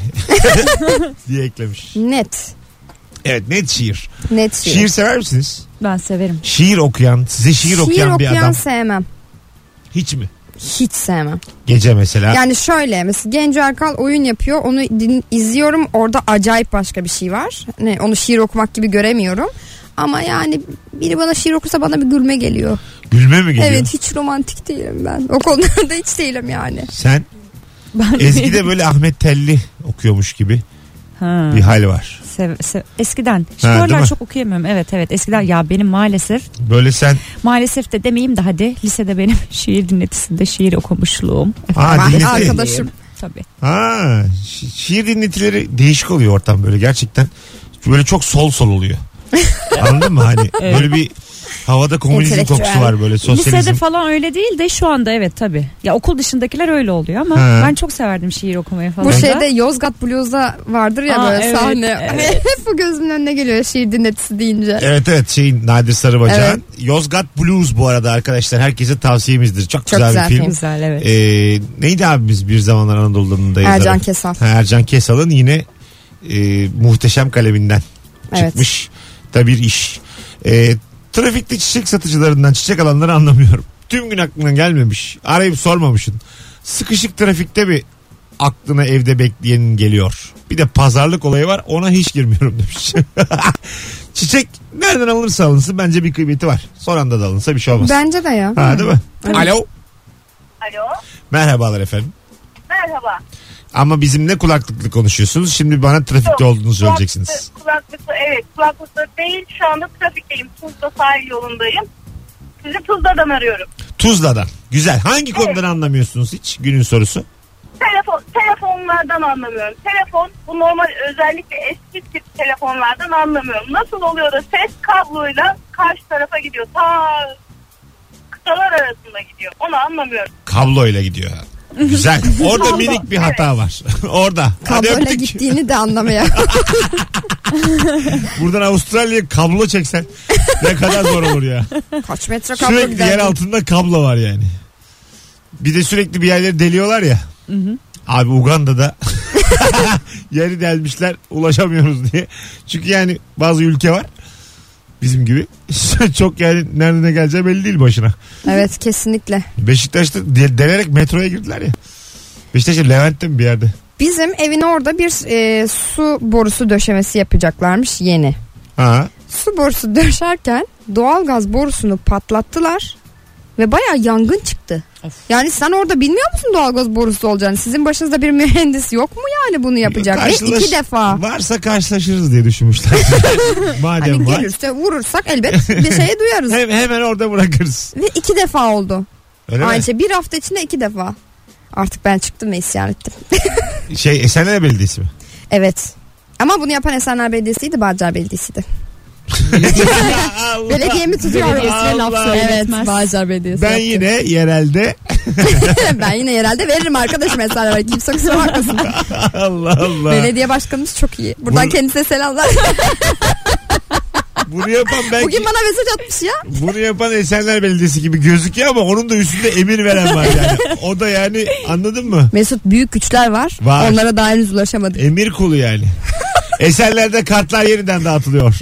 Speaker 2: diye eklemiş.
Speaker 4: Net.
Speaker 2: Evet net şiir.
Speaker 4: Net
Speaker 2: Şiir sever misiniz?
Speaker 5: Ben severim.
Speaker 2: Şiir okuyan, size şiir, okuyan bir adam
Speaker 4: sevmem.
Speaker 2: hiç mi?
Speaker 4: Hiç sevmem.
Speaker 2: Gece mesela.
Speaker 4: Yani şöyle mesela Genco Erkal oyun yapıyor. Onu din- izliyorum. Orada acayip başka bir şey var. Hani onu şiir okumak gibi göremiyorum. Ama yani biri bana şiir okursa bana bir gülme geliyor.
Speaker 2: Gülme mi geliyor?
Speaker 4: Evet hiç romantik değilim ben. O konularda hiç değilim yani.
Speaker 2: Sen
Speaker 5: Ben
Speaker 2: Ezgi de böyle Ahmet Telli okuyormuş gibi
Speaker 5: Ha.
Speaker 2: bir hal var.
Speaker 5: Sev- sev- eskiden. Şu
Speaker 2: Ha, değil
Speaker 5: aralar
Speaker 2: mi?
Speaker 5: çok okuyamıyorum. Evet evet eskiden ya benim maalesef
Speaker 2: Böyle sen
Speaker 5: maalesef de demeyeyim de hadi lisede benim şiir dinletisinde şiir okumuşluğum.
Speaker 2: ha,
Speaker 4: Ben
Speaker 2: dinleti-
Speaker 4: arkadaşım.
Speaker 5: Tabii.
Speaker 2: ha, şi- şiir dinletileri değişik oluyor ortam böyle gerçekten. Böyle çok sol sol oluyor. Anladın mı hani
Speaker 5: Evet.
Speaker 2: böyle bir havada komünizm
Speaker 4: Entelektüel.
Speaker 2: kokusu var böyle sosyalizm.
Speaker 5: Lisede falan öyle değil de şu anda evet tabii. Ya okul dışındakiler öyle oluyor ama
Speaker 2: Ha.
Speaker 5: ben çok severdim şiir okumayı falan.
Speaker 4: Bu
Speaker 5: da.
Speaker 4: şeyde Yozgat Blues'da vardır ya
Speaker 5: Aa,
Speaker 4: böyle
Speaker 5: evet,
Speaker 4: sahne.
Speaker 5: evet.
Speaker 4: Hep bu gözümün önüne geliyor şiir dinletisi deyince.
Speaker 2: Evet evet şeyin Nadir Sarıbacak'ın Yozgat Blues bu arada arkadaşlar herkese tavsiyemizdir. Çok, güzel,
Speaker 4: güzel
Speaker 2: bir film.
Speaker 4: film.
Speaker 5: Güzel evet.
Speaker 2: Ee, neydi abimiz bir zamanlar Anadolu'nun da yazarı?
Speaker 4: Ercan Kesal.
Speaker 2: Ha, Ercan Kesal'ın yine e, muhteşem kaleminden
Speaker 4: Evet.
Speaker 2: çıkmış da bir iş. E, trafikte çiçek satıcılarından çiçek alanları anlamıyorum. Tüm gün aklına gelmemiş. Arayıp sormamışsın. Sıkışık trafikte mi aklına evde bekleyenin geliyor? Bir de pazarlık olayı var ona hiç girmiyorum demiş. çiçek nereden alınırsa alınsın bence bir kıymeti var. Son anda da alınsa bir şey olmaz.
Speaker 4: Bence de ya.
Speaker 2: Ha, değil mi?
Speaker 4: Evet.
Speaker 2: Alo.
Speaker 7: Alo.
Speaker 2: Merhabalar efendim.
Speaker 7: Merhaba.
Speaker 2: Ama bizimle kulaklıklı konuşuyorsunuz. Şimdi bana trafikte
Speaker 7: Yok,
Speaker 2: olduğunuzu söyleyeceksiniz.
Speaker 7: Kulaklıklı, kulaklıklı evet kulaklıklı değil şu anda trafikteyim. Tuzla sahil yolundayım. Sizi Tuzla'dan arıyorum.
Speaker 2: Tuzla'dan. Güzel. Hangi konudan anlamıyorsunuz hiç? Günün sorusu.
Speaker 7: Telefon, telefonlardan anlamıyorum. Telefon bu normal özellikle eski tip telefonlardan anlamıyorum. Nasıl oluyor da ses kabloyla karşı tarafa gidiyor. Ta kıtalar arasında gidiyor. Onu anlamıyorum.
Speaker 2: Kabloyla gidiyor. Güzel. Orada minik bir hata var. Orada. Hadi
Speaker 4: Kabloyla
Speaker 2: öptük.
Speaker 4: gittiğini de anlamaya.
Speaker 2: Buradan Avustralya'ya kablo çeksen ne kadar zor olur ya.
Speaker 4: Kaç metre kablo
Speaker 2: Sürekli yer
Speaker 4: gider.
Speaker 2: altında kablo var yani. Bir de sürekli bir yerleri deliyorlar ya. Abi Uganda'da yeri delmişler ulaşamıyoruz diye. Çünkü yani bazı ülke var bizim gibi. Çok yani nereden ne geleceği belli değil başına.
Speaker 4: Evet kesinlikle.
Speaker 2: Beşiktaş'ta de- delerek metroya girdiler ya. Beşiktaş'ta Levent'te mi bir yerde?
Speaker 4: Bizim evin orada bir e, su borusu döşemesi yapacaklarmış yeni.
Speaker 2: Ha.
Speaker 4: Su borusu döşerken doğalgaz borusunu patlattılar ve baya yangın çıktı. Yani sen orada bilmiyor musun doğalgaz borusu olacağını? Sizin başınızda bir mühendis yok mu yani bunu yapacak? Ve
Speaker 2: Karşılaş-
Speaker 4: iki defa.
Speaker 2: Varsa karşılaşırız diye düşünmüşler. Madem
Speaker 4: Hani
Speaker 2: var.
Speaker 4: gelirse vurursak elbet bir şey duyarız.
Speaker 2: Hem, hemen orada bırakırız.
Speaker 4: Ve iki defa oldu.
Speaker 2: Öyle mi?
Speaker 4: Aynı şey bir hafta içinde iki defa. Artık ben çıktım ve isyan ettim.
Speaker 2: Şey Esenler Belediyesi mi?
Speaker 4: Evet. Ama bunu yapan Esenler Belediyesi'ydi, Bağcılar Belediyesi'ydi.
Speaker 2: Allah.
Speaker 4: Belediye mi tutuyor?
Speaker 2: Belediyesine laf Allah.
Speaker 4: Evet,
Speaker 5: söyletmez.
Speaker 4: Bağcılar Belediyesi.
Speaker 2: Ben
Speaker 4: yaptı.
Speaker 2: yine yerelde
Speaker 4: ben yine herhalde veririm arkadaşım Esenler'e. Kimse kusura bakmasın.
Speaker 2: Allah Allah.
Speaker 4: Belediye başkanımız çok iyi. Buradan
Speaker 2: Bunu-
Speaker 4: kendisine selamlar.
Speaker 2: Bunu yapan belki
Speaker 4: Bugün bana mesaj atmış ya.
Speaker 2: bunu yapan Esenler Belediyesi gibi gözüküyor ama onun da üstünde emir veren var yani. O da yani anladın mı?
Speaker 4: Mesut büyük güçler var.
Speaker 2: Var.
Speaker 4: Onlara daha henüz ulaşamadık.
Speaker 2: Emir kulu yani. Esenler'de kartlar yeniden dağıtılıyor.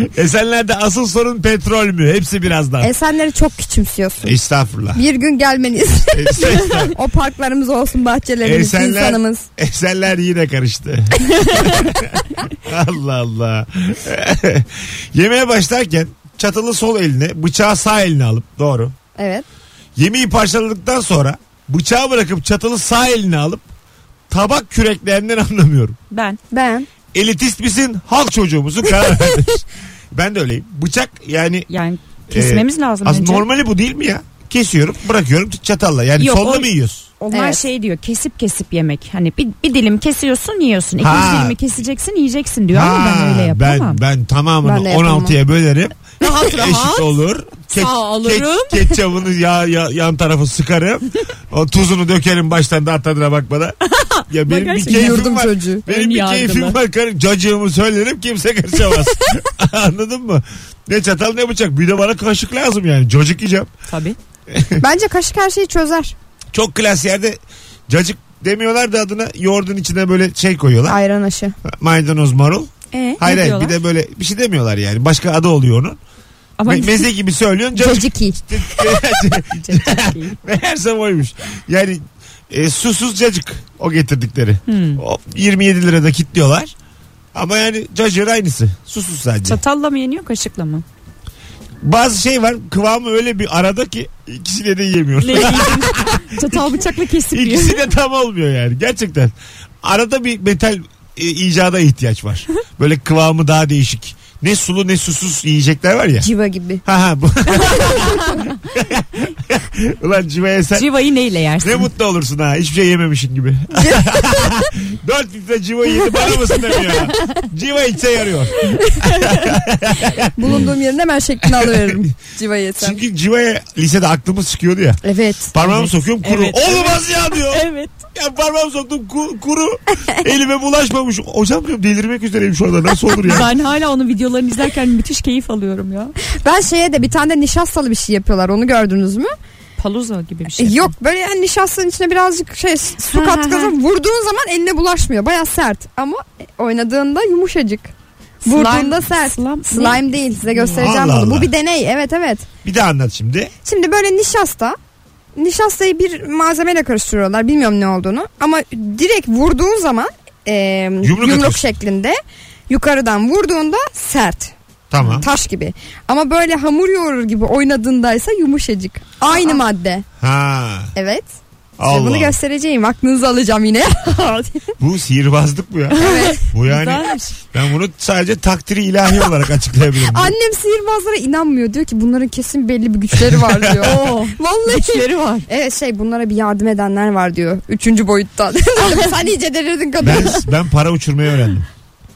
Speaker 2: Esenler'de asıl sorun petrol mü? Hepsi birazdan.
Speaker 4: Esenleri çok küçümsüyorsun.
Speaker 2: Estağfurullah.
Speaker 4: Bir gün gelmeniz.
Speaker 2: Estağfurullah.
Speaker 4: o parklarımız olsun, bahçelerimiz,
Speaker 2: Esenler-
Speaker 4: insanımız.
Speaker 2: Eserler yine karıştı. Allah Allah. Yemeğe başlarken çatalı sol eline bıçağı sağ eline alıp doğru.
Speaker 4: Evet.
Speaker 2: Yemeği parçaladıktan sonra bıçağı bırakıp çatalı sağ eline alıp tabak küreklerinden anlamıyorum.
Speaker 5: Ben.
Speaker 4: Ben.
Speaker 2: Elitist misin halk çocuğu musun karar vermiş. ben de öyleyim. Bıçak yani
Speaker 5: Yani kesmemiz lazım
Speaker 2: az
Speaker 5: önce.
Speaker 2: normali bu değil mi ya? Kesiyorum bırakıyorum çatalla yani
Speaker 5: Yok,
Speaker 2: sonla
Speaker 5: o-
Speaker 2: mı yiyoruz?
Speaker 5: Onlar
Speaker 4: Evet.
Speaker 5: şey diyor kesip kesip yemek. Hani bir, bir dilim kesiyorsun yiyorsun. İkinci
Speaker 2: Ha.
Speaker 5: dilimi keseceksin yiyeceksin diyor ama
Speaker 2: Ha,
Speaker 5: ben öyle yapamam.
Speaker 2: Ben, ben tamamını
Speaker 4: Ben de yapamam.
Speaker 2: 16'ya bölerim. Eşit olur. Ke-
Speaker 5: Sağ alırım.
Speaker 2: Ke- ketçabını ya, ya, yan tarafı sıkarım. O tuzunu dökerim baştan da tadına bakmadan. Ya benim bir
Speaker 5: Bakarsın,
Speaker 2: keyfim
Speaker 4: yurdum
Speaker 2: var.
Speaker 4: çocuğu.
Speaker 2: Benim
Speaker 5: Ön
Speaker 2: bir
Speaker 5: yargılı.
Speaker 2: keyfim var. Karı- Cacığımı söylerim kimse karışamaz. Anladın mı? Ne çatal ne bıçak. Bir de bana kaşık lazım yani. Cacık yiyeceğim.
Speaker 5: Tabii.
Speaker 4: Bence kaşık her şeyi çözer.
Speaker 2: Çok klas yerde cacık demiyorlar da adına yoğurdun içine böyle şey koyuyorlar.
Speaker 4: Ayran aşı.
Speaker 2: Maydanoz marul.
Speaker 5: Ee,
Speaker 2: Hayır
Speaker 5: ne
Speaker 2: hayır bir
Speaker 5: diyorlar?
Speaker 2: de böyle bir şey demiyorlar yani. Başka adı oluyor onun.
Speaker 5: Ama
Speaker 2: Me- meze gibi söylüyorsun. Cacık.
Speaker 4: Caciki.
Speaker 2: Meğerse oymuş. Yani e, susuz cacık o getirdikleri.
Speaker 5: Hmm.
Speaker 2: O 27 lirada kitliyorlar. Ama yani cacığın aynısı. Susuz sadece.
Speaker 5: çatalla mı yeniyor kaşıkla mı?
Speaker 2: Bazı şey var kıvamı öyle bir arada ki ikisini de yiyemiyor.
Speaker 5: Ne yiyeceğim? Çatal bıçakla kesip yiyor.
Speaker 2: İkisi de tam olmuyor yani gerçekten. Arada bir metal e, icada ihtiyaç var. Böyle kıvamı daha değişik. Ne sulu ne susuz yiyecekler var ya.
Speaker 4: Civa gibi.
Speaker 2: Ha ha. bu- Ulan civaya sen
Speaker 5: Civayı neyle yersin?
Speaker 2: ne mutlu olursun ha. Hiçbir şey yememişin gibi. 4 litre civa yedi bana mısın demiyor. ha. Civa içse yarıyor.
Speaker 4: Bulunduğum yerin hemen şeklini alıveririm. Civa yesem.
Speaker 2: Çünkü civaya lisede aklımız çıkıyordu ya.
Speaker 4: Evet.
Speaker 2: Parmağımı sokuyorum kuru.
Speaker 5: Evet.
Speaker 2: Olmaz ya diyor.
Speaker 5: Evet.
Speaker 2: Ya parmağımı soktum ku- kuru. Elime bulaşmamış. Hocam diyorum delirmek üzereyim şu anda. Nasıl olur ya?
Speaker 5: Ben hala onun videolarını izlerken müthiş keyif alıyorum ya.
Speaker 4: Ben şeye de bir tane de nişastalı bir şey yapıyorlar. Onu gördünüz mü?
Speaker 5: Paluza gibi bir
Speaker 4: E,
Speaker 5: şey.
Speaker 4: Yok böyle yani nişastanın içine birazcık şey su
Speaker 5: Ha,
Speaker 4: katkı
Speaker 5: ha, ha.
Speaker 4: vurduğun zaman eline bulaşmıyor. Baya sert ama oynadığında yumuşacık.
Speaker 5: Slime-
Speaker 4: Vurduğunda sert.
Speaker 5: slime-
Speaker 4: Slime değil size göstereceğim
Speaker 2: Allah
Speaker 4: bunu.
Speaker 2: Allah.
Speaker 4: Bu bir deney evet evet.
Speaker 2: Bir daha anlat şimdi.
Speaker 4: Şimdi böyle nişasta nişastayı bir malzemeyle karıştırıyorlar. Bilmiyorum ne olduğunu. Ama direkt vurduğun zaman e, yumruk,
Speaker 2: atıyorsun.
Speaker 4: şeklinde yukarıdan vurduğunda sert.
Speaker 2: Tamam.
Speaker 4: Taş gibi. Ama böyle hamur yoğurur gibi oynadığındaysa yumuşacık. Aynı madde.
Speaker 2: Ha.
Speaker 4: Evet. Size
Speaker 2: Allah.
Speaker 4: bunu göstereceğim. Aklınızı alacağım yine.
Speaker 2: Bu sihirbazlık bu ya.
Speaker 4: Evet.
Speaker 2: Bu yani ben bunu sadece takdiri ilahi olarak açıklayabilirim.
Speaker 4: Annem sihirbazlara inanmıyor. Diyor ki bunların kesin belli bir güçleri var diyor. Vallahi.
Speaker 5: Güçleri var.
Speaker 4: Evet şey bunlara bir yardım edenler var diyor. Üçüncü boyuttan. Sen iyice delirdin kadın.
Speaker 2: ben, ben para uçurmayı öğrendim.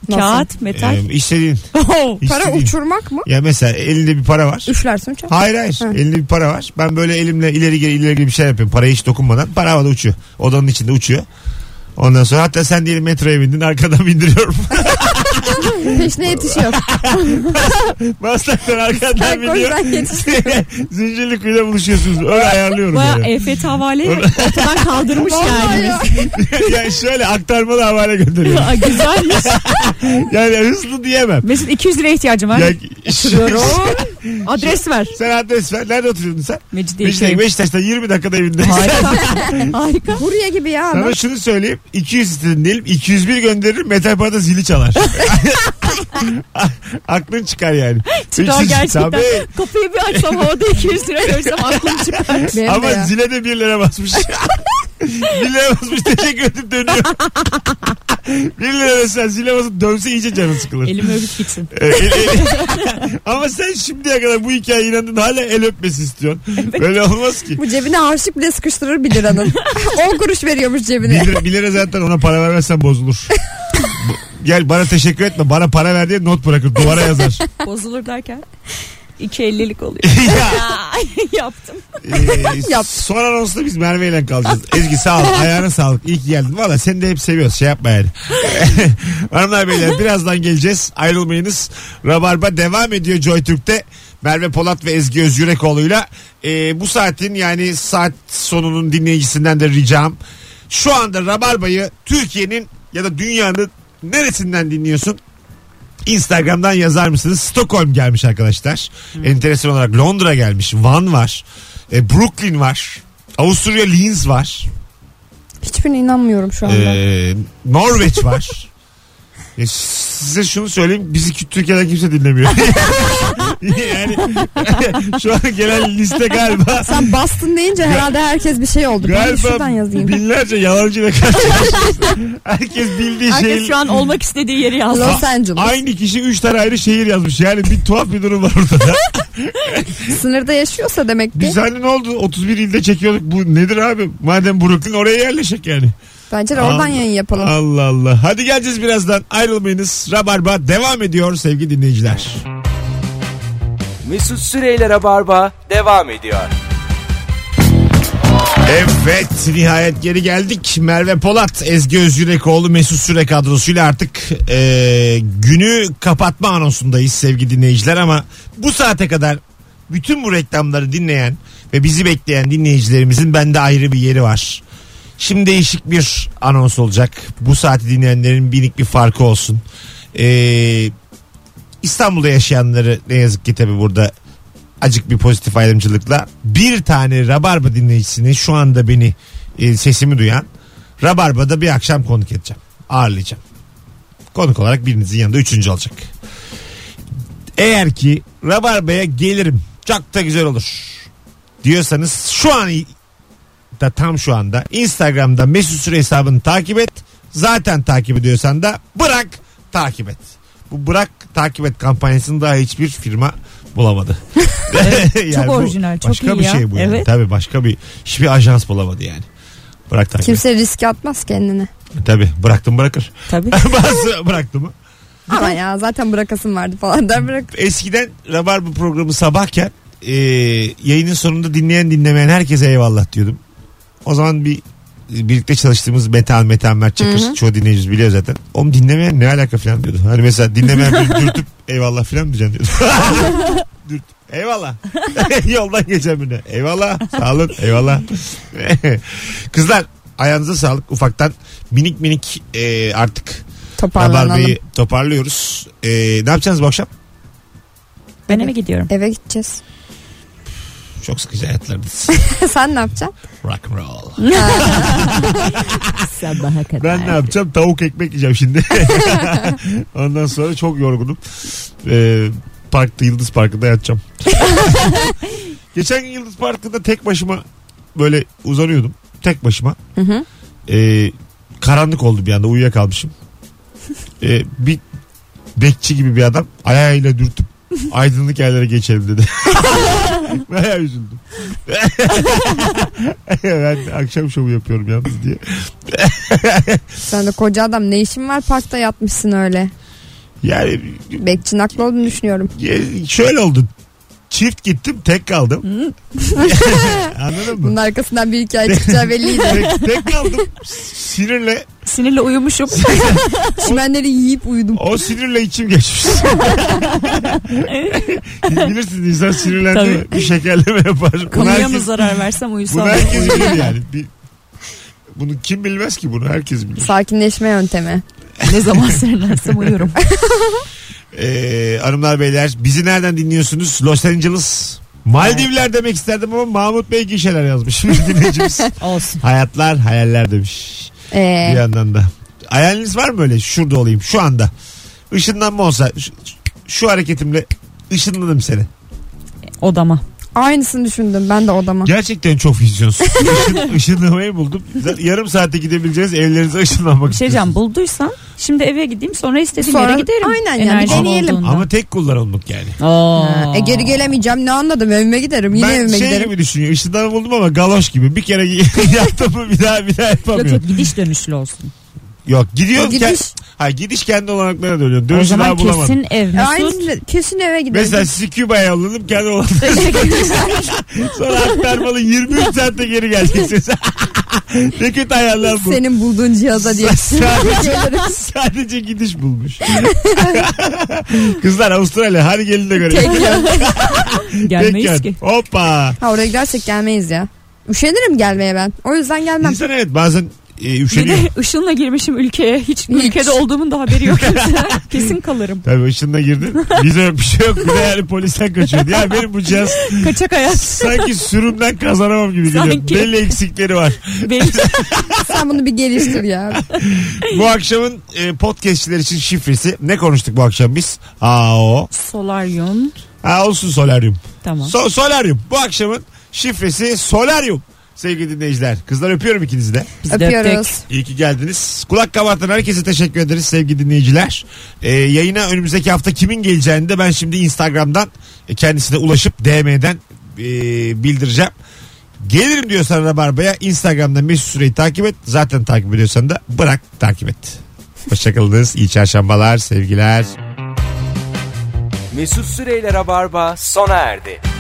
Speaker 4: Nasıl?
Speaker 5: Kağıt,
Speaker 4: E,
Speaker 5: metal. Oh!
Speaker 2: Ee, istediğin.
Speaker 4: Para
Speaker 2: istediğin.
Speaker 4: uçurmak mı?
Speaker 2: Ya mesela elinde bir para var.
Speaker 4: Üflersin çok.
Speaker 2: Hayır hayır.
Speaker 4: Hı.
Speaker 2: Elinde bir para var. Ben böyle elimle ileri geri ileri geri bir şey yapıyorum. Paraya hiç dokunmadan. Para havada uçuyor. Odanın içinde uçuyor. Ondan sonra hatta sen diyelim metroya bindin arkadan bindiriyorum.
Speaker 4: Peşine yetişiyor.
Speaker 2: Maslaktan arkadan
Speaker 4: Sen koş,
Speaker 2: biniyor.
Speaker 4: ben
Speaker 2: Zincirli kuyuda buluşuyorsunuz. Öyle ayarlıyorum.
Speaker 5: Baya
Speaker 2: yani.
Speaker 5: EFT havaleyi ortadan kaldırmış
Speaker 4: Vallahi
Speaker 5: yani.
Speaker 4: ya.
Speaker 2: yani şöyle aktarmalı havale gönderiyorum.
Speaker 5: Aa, Güzelmiş.
Speaker 2: Yani hızlı diyemem.
Speaker 5: Mesut 200 liraya ihtiyacım var.
Speaker 2: Ya,
Speaker 5: Oturuyorum. Adres ver.
Speaker 2: sen adres ver. Nerede oturuyordun sen? Beşiktaş,
Speaker 5: Mecidiyeköy.
Speaker 2: Beşiktaş'ta 20 dakikada evinde.
Speaker 5: Harika. Harika.
Speaker 4: Kurye gibi ya. adam.
Speaker 2: Sana şunu söyleyeyim. 200 istedin diyelim. 201 gönderirim. Metal parada zili çalar. Aklın çıkar yani.
Speaker 5: Çıkar
Speaker 2: 300
Speaker 5: gerçekten.
Speaker 2: tabii.
Speaker 5: Kapıyı bir açsam havada 200 lira görsem aklım çıkar.
Speaker 4: Benim de
Speaker 2: Ama
Speaker 4: ya.
Speaker 2: zile de 1 lira basmış. 1 lira basmış teşekkür edip dönüyor. 1 lira mesela zile basıp dönse iyice canı sıkılır.
Speaker 5: Elim öpüp gitsin.
Speaker 2: Ee, el- el- Ama sen şimdiye kadar bu hikayeye inandın hala el öpmesi istiyorsun. Böyle olmaz ki.
Speaker 4: Bu cebine harçlık bile sıkıştırır 1 liranın. 10 kuruş veriyormuş cebine.
Speaker 2: 1 lira, bir lira zaten ona para vermezsen bozulur. Bu- Gel bana teşekkür etme. Bana para ver diye not bırakır. Duvara yazar.
Speaker 5: Bozulur derken 2.50'lik oluyor.
Speaker 2: ya,
Speaker 5: Yaptım.
Speaker 2: e,
Speaker 4: Yap.
Speaker 2: son anonsda biz Merve ile kalacağız. Ezgi sağ ol. Ayağına sağlık. İyi ki geldin. Valla seni de hep seviyoruz. Şey yapma yani. Hanımlar beyler birazdan geleceğiz. Ayrılmayınız. Rabarba devam ediyor Joy Türk'te. Merve Polat ve Ezgi Özgürekoğlu'yla. E, bu saatin yani saat sonunun dinleyicisinden de ricam. Şu anda Rabarba'yı Türkiye'nin ya da dünyanın neresinden dinliyorsun? Instagram'dan yazar mısınız? Stockholm gelmiş arkadaşlar.
Speaker 4: Hmm.
Speaker 2: Enteresan olarak Londra gelmiş. Van var. E, Brooklyn var. Avusturya Linz var.
Speaker 4: Hiçbirine inanmıyorum şu anda.
Speaker 2: E, Norveç var. E, size şunu söyleyeyim. Bizi ki- Türkiye'den kimse dinlemiyor. yani şu an gelen liste galiba
Speaker 4: Sen bastın deyince herhalde herkes bir şey oldu. Ben de şuradan
Speaker 2: galiba
Speaker 4: yazayım.
Speaker 2: binlerce yalancı ve karşılaşıyoruz. Herkes bildiği
Speaker 5: Herkes
Speaker 2: şeyi
Speaker 5: şu an olmak istediği yeri yazdı.
Speaker 4: Los Angeles.
Speaker 2: aynı kişi 3 tane ayrı şehir yazmış. Yani bir tuhaf bir durum var ortada.
Speaker 4: Sınırda yaşıyorsa demek ki.
Speaker 2: Biz hani ne oldu? 31 ilde çekiyorduk. Bu nedir abi? Madem Brooklyn oraya yerleşik yani.
Speaker 4: Bence de oradan
Speaker 2: Allah-
Speaker 4: yayın yapalım.
Speaker 2: Allah Allah. Hadi geleceğiz birazdan. Ayrılmayınız. Rabarba devam ediyor sevgili dinleyiciler.
Speaker 1: Mesut Süreyler'e barba devam ediyor.
Speaker 2: Evet nihayet geri geldik. Merve Polat, Ezgi Özgürekoğlu, Mesut Süre kadrosuyla artık e, günü kapatma anonsundayız sevgili dinleyiciler ama bu saate kadar bütün bu reklamları dinleyen ve bizi bekleyen dinleyicilerimizin bende ayrı bir yeri var. Şimdi değişik bir anons olacak. Bu saati dinleyenlerin binik bir farkı olsun. E, İstanbul'da yaşayanları ne yazık ki tabi burada acık bir pozitif ayrımcılıkla bir tane Rabarba dinleyicisini şu anda beni e, sesimi duyan Rabarba'da bir akşam konuk edeceğim. Ağırlayacağım. Konuk olarak birinizin yanında üçüncü olacak. Eğer ki Rabarba'ya gelirim çok da güzel olur diyorsanız şu an da tam şu anda Instagram'da Mesut Süre hesabını takip et. Zaten takip ediyorsan da bırak takip et. Bu bırak takip et kampanyasını daha hiçbir firma bulamadı. Yani bu
Speaker 5: orijinal, çok
Speaker 2: başka
Speaker 5: iyi
Speaker 2: bir
Speaker 5: ya.
Speaker 2: şey bu. Yani.
Speaker 5: Evet.
Speaker 2: Tabii başka bir hiçbir ajans bulamadı yani. Bırak takip. et.
Speaker 4: Kimse riske atmaz kendini.
Speaker 2: Tabii bıraktım bırakır.
Speaker 5: Tabii.
Speaker 2: Bazı bıraktı mı?
Speaker 4: Ama ya zaten bırakasın vardı falan der bırak.
Speaker 2: eskiden Rabarba programı sabahken e, yayının sonunda dinleyen dinlemeyen herkese eyvallah diyordum. O zaman bir birlikte çalıştığımız Metal Metal Mert Çakır çoğu dinleyicimiz biliyor zaten. Oğlum dinlemeyen ne alaka falan diyordu. Hani mesela dinlemeyen bir dürtüp eyvallah falan mı diyeceksin diyordu. Dürt. Eyvallah. Yoldan geçen birine. Eyvallah. Sağ olun. Eyvallah. Kızlar ayağınıza sağlık. Ufaktan minik minik e, artık
Speaker 4: Toparlanalım.
Speaker 2: Rabarba'yı toparlıyoruz. E, ne yapacaksınız bu akşam?
Speaker 5: Ben eve gidiyorum.
Speaker 4: Eve gideceğiz.
Speaker 2: Çok sıkıcı hayatlarınız.
Speaker 4: Sen ne yapacaksın?
Speaker 2: Rock and roll.
Speaker 5: Sabaha kadar.
Speaker 2: Ben ne yapacağım? Tavuk ekmek yiyeceğim şimdi. Ondan sonra çok yorgunum. Ee, parkta Yıldız Parkı'nda yatacağım. Geçen gün Yıldız Parkı'nda tek başıma böyle uzanıyordum. Tek başıma.
Speaker 4: Hı hı.
Speaker 2: Ee, karanlık oldu bir anda uyuyakalmışım. Ee, bir bekçi gibi bir adam ayağıyla dürtüp aydınlık yerlere geçelim dedi. Bayağı üzüldüm. ben akşam şovu yapıyorum yalnız diye.
Speaker 4: Sen de koca adam ne işin var parkta yatmışsın öyle.
Speaker 2: Yani
Speaker 4: Bekçinin haklı olduğunu düşünüyorum.
Speaker 2: e, şöyle oldu. Çift gittim tek kaldım. Anladın
Speaker 4: Bunun
Speaker 2: mı?
Speaker 4: arkasından bir hikaye çıkacağı belliydi.
Speaker 2: tek, tek kaldım. Sinirle
Speaker 5: Sinirle uyumuşum.
Speaker 4: Çimenleri yiyip uyudum.
Speaker 2: o sinirle içim geçmiş. Bilirsiniz insan sinirlendi mi
Speaker 5: Tabii.
Speaker 2: bir şekerleme yapar. Bunu
Speaker 5: Kamuya mı
Speaker 2: herkes,
Speaker 5: zarar versem uyusam.
Speaker 2: bunu herkes bilir yani. Bir- bunu kim bilmez ki bunu herkes bilir.
Speaker 4: Sakinleşme yöntemi.
Speaker 5: ne zaman sinirlensem uyurum.
Speaker 2: Ee, hanımlar beyler bizi nereden dinliyorsunuz? Los Angeles. Maldivler demek isterdim ama Mahmut Bey gişeler yazmış. Dinleyicimiz.
Speaker 5: Olsun.
Speaker 2: Hayatlar hayaller demiş. Bir
Speaker 4: Ee,
Speaker 2: yandan da. Hayaliniz var mı öyle? Şurada olayım şu anda. Işınlanma olsa şu, şu hareketimle ışınladım seni.
Speaker 5: Odama.
Speaker 4: aynısını düşündüm ben de odama.
Speaker 2: Gerçekten çok vizyonsuz. Işın, ışınlamayı buldum. Zaten Yarım saatte gidebileceğiz evlerinize ışınlanmak
Speaker 5: Bir şey
Speaker 2: istiyorsunuz.
Speaker 5: diyeceğim bulduysan şimdi eve gideyim sonra istediğim
Speaker 4: Sonra-
Speaker 5: yere giderim.
Speaker 4: Aynen yani,
Speaker 5: Enerjim
Speaker 4: deneyelim.
Speaker 5: olduğunda.
Speaker 2: Ama tek kullanımlık yani.
Speaker 5: Aa.
Speaker 4: Ha, E geri gelemeyeceğim ne anladım evime giderim yine
Speaker 2: ben
Speaker 4: evime
Speaker 2: şey
Speaker 4: giderim.
Speaker 2: gibi düşünüyorum. Işınlanma buldum ama galoş gibi. Bir kere yaptım mı bir daha bir daha
Speaker 5: Yok
Speaker 2: yapamıyorum.
Speaker 5: yok gidiş dönüşlü olsun.
Speaker 2: Yok gidiyor.
Speaker 4: Gidiş.
Speaker 2: Gidiş. Ha, gidiş kendi olanaklarına dönüyor.
Speaker 5: o
Speaker 2: Dönüşü
Speaker 5: zaman
Speaker 2: daha bulamadım.
Speaker 5: kesin ev. Mesut.
Speaker 4: Aynı kesin eve giderim.
Speaker 2: Mesela sizi Küba'ya yolladım kendi olanaklarına. Sonra aktarmalı 23 saatte geri geleceksiniz. ne kötü hayaller bu.
Speaker 4: Senin bulduğun cihaza diye.
Speaker 2: Sadece, sadece gidiş bulmuş. Kızlar Avustralya hadi gelin de görelim.
Speaker 5: Gelmeyiz
Speaker 2: Tekken.
Speaker 5: ki.
Speaker 2: Hoppa.
Speaker 4: ha oraya gidersek gelmeyiz ya. Üşenirim gelmeye ben. O yüzden gelmem.
Speaker 2: İnsan evet bazen e,
Speaker 5: Bir
Speaker 2: üşeniyor.
Speaker 5: de ışınla girmişim ülkeye. Hiç,
Speaker 4: Hiç.
Speaker 5: ülkede olduğumun da haberi yok. Kesin kalırım.
Speaker 2: Tabii ışınla girdin. Bize bir şey yok. Bir de yani polisten kaçıyordu. Ya benim bu cihaz
Speaker 5: Kaçak hayat.
Speaker 2: sanki sürümden kazanamam gibi geliyor.
Speaker 5: Sanki.
Speaker 2: Belli eksikleri var.
Speaker 5: Belki
Speaker 4: Sen bunu bir geliştir ya.
Speaker 2: Bu akşamın e, podcastçiler için şifresi. Ne konuştuk bu akşam biz? Aa o.
Speaker 5: solaryum.
Speaker 2: Ha olsun solaryum.
Speaker 5: Tamam.
Speaker 2: So- solaryum. Bu akşamın şifresi solaryum. Sevgili dinleyiciler. Kızlar öpüyorum ikinizi de.
Speaker 5: Biz de öptük.
Speaker 4: Öpüyoruz.
Speaker 2: İyi ki geldiniz. Kulak kabartan herkese teşekkür ederiz sevgili dinleyiciler. Ee, yayına önümüzdeki hafta kimin geleceğini de ben şimdi Instagram'dan e, kendisine ulaşıp DM'den e, bildireceğim. Gelirim diyorsan Rabarba'ya Instagram'da Mesut Süreyi takip et. Zaten takip ediyorsan da bırak takip et. Hoşçakalınız. İyi çarşambalar. Sevgiler.
Speaker 1: Mesut Süreyler'e barba sona erdi.